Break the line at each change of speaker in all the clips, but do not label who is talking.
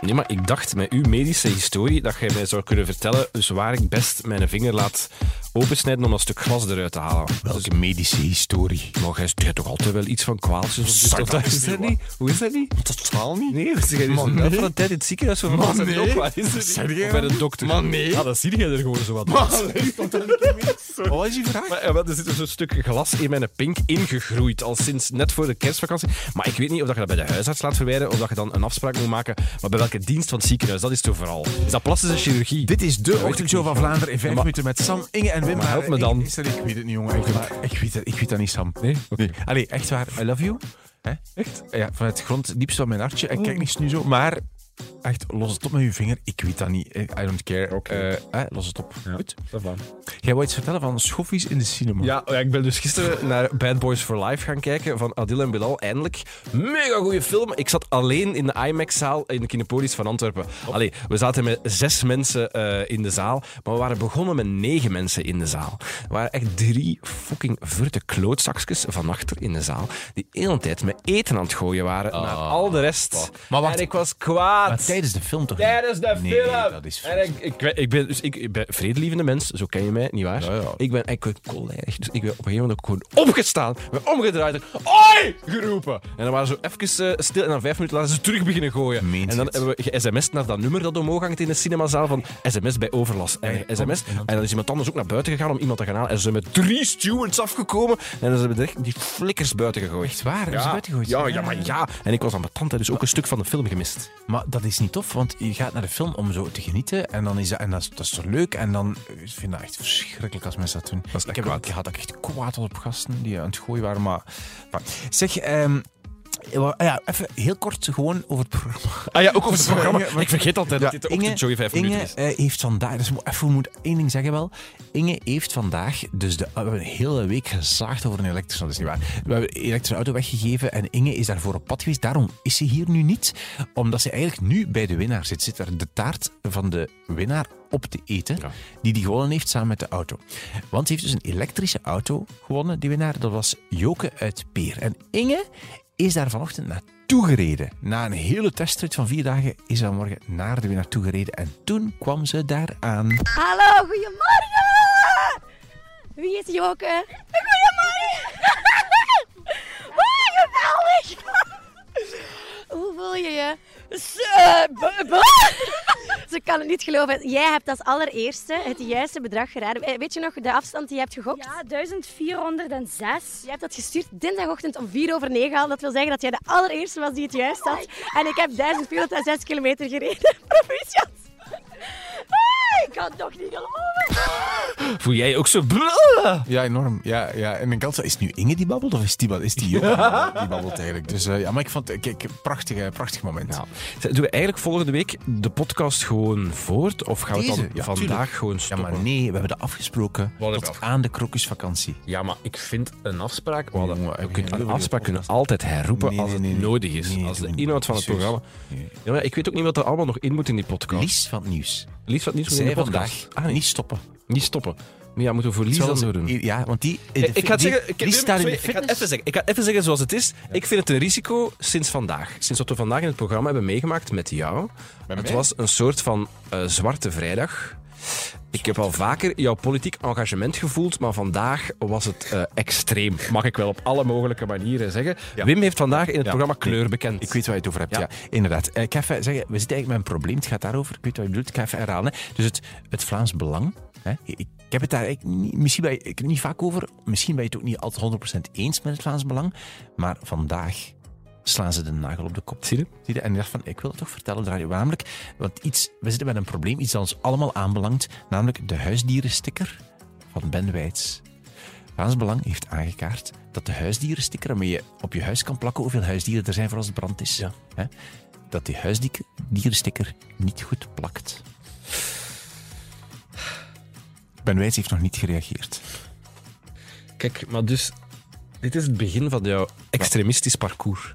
Nee, maar ik dacht met uw medische historie dat jij mij zou kunnen vertellen dus waar ik best mijn vinger laat opensnijden om dat stuk glas eruit te halen. Dus,
Welke medische historie?
maar jij jij toch altijd wel iets van kwaaltjes of dit
Zeg,
of
dat
dat?
is
Is dat
niet
niet? Hoe is dat niet?
Totaal niet.
Nee, hoe is jij dus
Man,
wel
nee.
voor een tijd in het ziekenhuis van man,
nee.
ook wat is
Wat
dat
zeg
niet?
jij
Of bij
dan?
de dokter.
Man, nee.
Ah, dat zie jij er gewoon zo wat.
Wat was die vraag?
Maar, ja, wel, er zit dus een stuk glas in mijn pink ingegroeid, al sinds net voor de kerstvakantie. Maar ik weet niet of dat je dat bij de huisarts laat verwijderen of dat je dan een afspraak moet maken. Maar bij welke dienst van het ziekenhuis, dat is toch vooral. Is dat plastische chirurgie?
Dit is de
ik
ochtendshow
niet.
van Vlaanderen in vijf
Maar-
minuten met Sam, Inge en Wim.
Maar help me
ik-
dan.
is dat- ik weet het niet, jongen. Ik, maar ik, weet, dat, ik weet dat niet, Sam.
Nee? Oké.
Nee. Allee, echt waar. I love you. Hè?
Echt?
Ja, vanuit het gronddiepste van mijn hartje. Ik kijk niet nu zo, maar echt, los het op met je vinger. Ik weet dat niet. I don't care. Eh, hè, los het op. Goed. Jij wou iets vertellen van schoffies in de cinema.
Ja, ja, ik ben dus gisteren naar Bad Boys for Life gaan kijken van Adil en Bilal. Eindelijk. Mega goede film. Ik zat alleen in de IMAX-zaal in de Kinepolis van Antwerpen. Allee, we zaten met zes mensen eh, in de zaal, maar we waren begonnen met negen mensen in de zaal. Er waren echt drie fucking vurte klootzakjes van achter in de zaal, die de hele tijd met eten aan het gooien waren naar al de rest.
Maar wacht.
en ik was kwaad.
Maar tijdens de film toch? niet?
Tijdens de
nee,
film.
dat is
en ik, ik, ben- ik ben, dus ik, ik ben vredelievende mens, zo ken je mij, nietwaar?
Ja, ja.
Ik ben echt kolerig. Dus ik ben op een gegeven moment ook gewoon opgestaan, ben omgedraaid en Oi! geroepen. En dan waren ze even eh, stil en dan vijf minuten later ze terug beginnen gooien.
Meent
en dan
het?
hebben we ge-sms'd naar dat nummer dat omhoog hangt in de cinemazaal van sms bij overlast. En
kom,
sms.
en dan-
En dan is iemand anders ook naar buiten gegaan om iemand te gaan halen. En ze zijn met drie stewards afgekomen en ze hebben direct die flikkers buiten gegooid.
Echt waar?
Ja,
Dat is buitengooid.
ja, ja, maar ja. En ik was aan mijn tante, dus ook een stuk van de film gemist.
Maar dat is niet tof, want je gaat naar de film om zo te genieten. En, dan is dat, en dat, is, dat is toch leuk. En dan eh, ik vind dat echt verschrikkelijk als mensen dat doen.
is echt
ik, heb,
kwaad.
ik had ook echt kwaad op gasten die aan het gooien waren. Maar, maar- zeg, ehm, wa- ja, even heel kort gewoon over het programma.
Ah ja, ook over het
Sorry,
programma.
Inge, maar-
ik vergeet altijd dat dit de ochtendshow in vijf
Inge,
minuten is.
eh, heeft vandaag, dus mo- even, we moeten één ding zeggen wel. Inge heeft vandaag, dus de, we hebben een hele week gezaagd over een elektrische, dat is niet waar. We hebben een elektrische auto weggegeven en Inge is daarvoor op pad geweest. Daarom is ze hier nu niet, omdat ze eigenlijk nu bij de winnaar zit. Zit er de taart van de winnaar op te eten,
Ja.
die die gewonnen heeft samen met de auto. Want ze heeft dus een elektrische auto gewonnen, die winnaar. Dat was Joke uit Peer. En Inge is daar vanochtend naartoe gereden. Na een hele testrit van vier dagen is ze vanmorgen naar de winnaar toe gereden. En toen kwam ze daar aan.
Hallo, goedemorgen! Wie is Joke? Goedemorgen! Oh, geweldig! Hoe voel je je? eh, Ze kan het niet geloven. Jij hebt als allereerste het juiste bedrag geraden. Eh, Weet je nog de afstand die je hebt gegokt?
Ja, 1406.
Je hebt dat gestuurd dinsdagochtend om 4 over 9 al. Dat wil zeggen dat jij de allereerste was die het juist had. En ik heb 1406 kilometer gereden. Proficiat. Ah, ik kan het toch niet geloven.
Voel jij je ook zo... brrr?
Ja, enorm. Ja, ja. En ik had is het nu Inge die babbelt of is die, is die Joke die babbelt eigenlijk? Dus eh, ja, maar ik vond het kijk, een prachtig, eh, prachtig moment.
Ja. Zeg, Doen we eigenlijk volgende week de podcast gewoon voort? Of gaan we
Deze?
het dan
Ja,
vandaag
tuurlijk.
gewoon
Ja,
stoppen?
maar nee, we hebben dat afgesproken
hebben we
tot
afgesproken?
aan de krokusvakantie.
Ja, maar ik vind een afspraak... We hadden-
Jongen,
we
heb je
kunnen
geen
een
idee
afspraak
wat je
kunnen altijd herroepen
Nee,
als
nee,
het
nee, nee.
nodig is.
Nee,
als de
doe niet.
inhoud van het
Serieus.
programma...
Nee.
Ja, maar ik weet ook niet wat er allemaal nog in moet in die podcast.
Lies van het nieuws.
Lies wat niet zo in de
Zij
podcast.
vandaag Ah, niet stoppen.
Niet stoppen. Maar ja, moeten we voor Lies dan zo doen?
Ja, want die...
Ik, ik ga het
die-
zeggen, ik,
Lies
Wim,
staat in de
sorry, ik ga het
fitness.
even zeggen. Ik ga het even zeggen zoals het is. Ik vind het een risico sinds vandaag. Sinds wat we vandaag in het programma hebben meegemaakt met jou. het
mij?
was een soort van eh, zwarte vrijdag. Ik heb al vaker jouw politiek engagement gevoeld, maar vandaag was het eh, extreem. Mag ik wel op alle mogelijke manieren zeggen.
Ja.
Wim heeft vandaag in het
Ja.
programma
Nee,
Kleur bekend.
Ik weet waar je het over hebt,
Ja.
ja. Inderdaad. Eh, Ik ga even zeggen, we zitten eigenlijk met een probleem. Het gaat daarover. Ik weet wat je bedoelt. Ik ga even herhalen. Dus het, het Vlaams Belang. Hè, ik ik heb het daar eigenlijk niet, misschien bij, ik, niet vaak over. Misschien ben je het ook niet altijd 100% eens met het Vlaams Belang. Maar vandaag slaan ze de nagel op de kop.
Zie je?
Zie je? En ik dacht van, ik wil het toch vertellen, Radio Namelijk, want iets, we zitten met een probleem, iets dat ons allemaal aanbelangt. Namelijk de huisdierensticker van Ben Wijts. Vlaams Belang heeft aangekaart dat de huisdierensticker, waarmee je op je huis kan plakken hoeveel huisdieren er zijn voor als het brand is,
Ja.
hè, dat die huisdierensticker niet goed plakt. Ben Wijts heeft nog niet gereageerd.
Kijk, maar dus... Dit is het begin van jouw extremistisch parcours.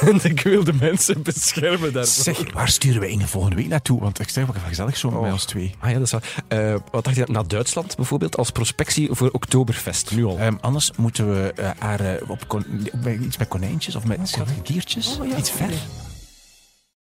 En ik wil de mensen beschermen daarvoor.
Zeg, waar sturen we Inge volgende week naartoe? Want ik stel me gezellig zo bij ons twee.
Ah ja, dat is waar. Eh, wat dacht je naar Duitsland bijvoorbeeld als prospectie voor Oktoberfest? Nu al.
Ehm, anders moeten we eh, haar eh, op kon- op- bij- iets met konijntjes of met schattige diertjes. iets ver.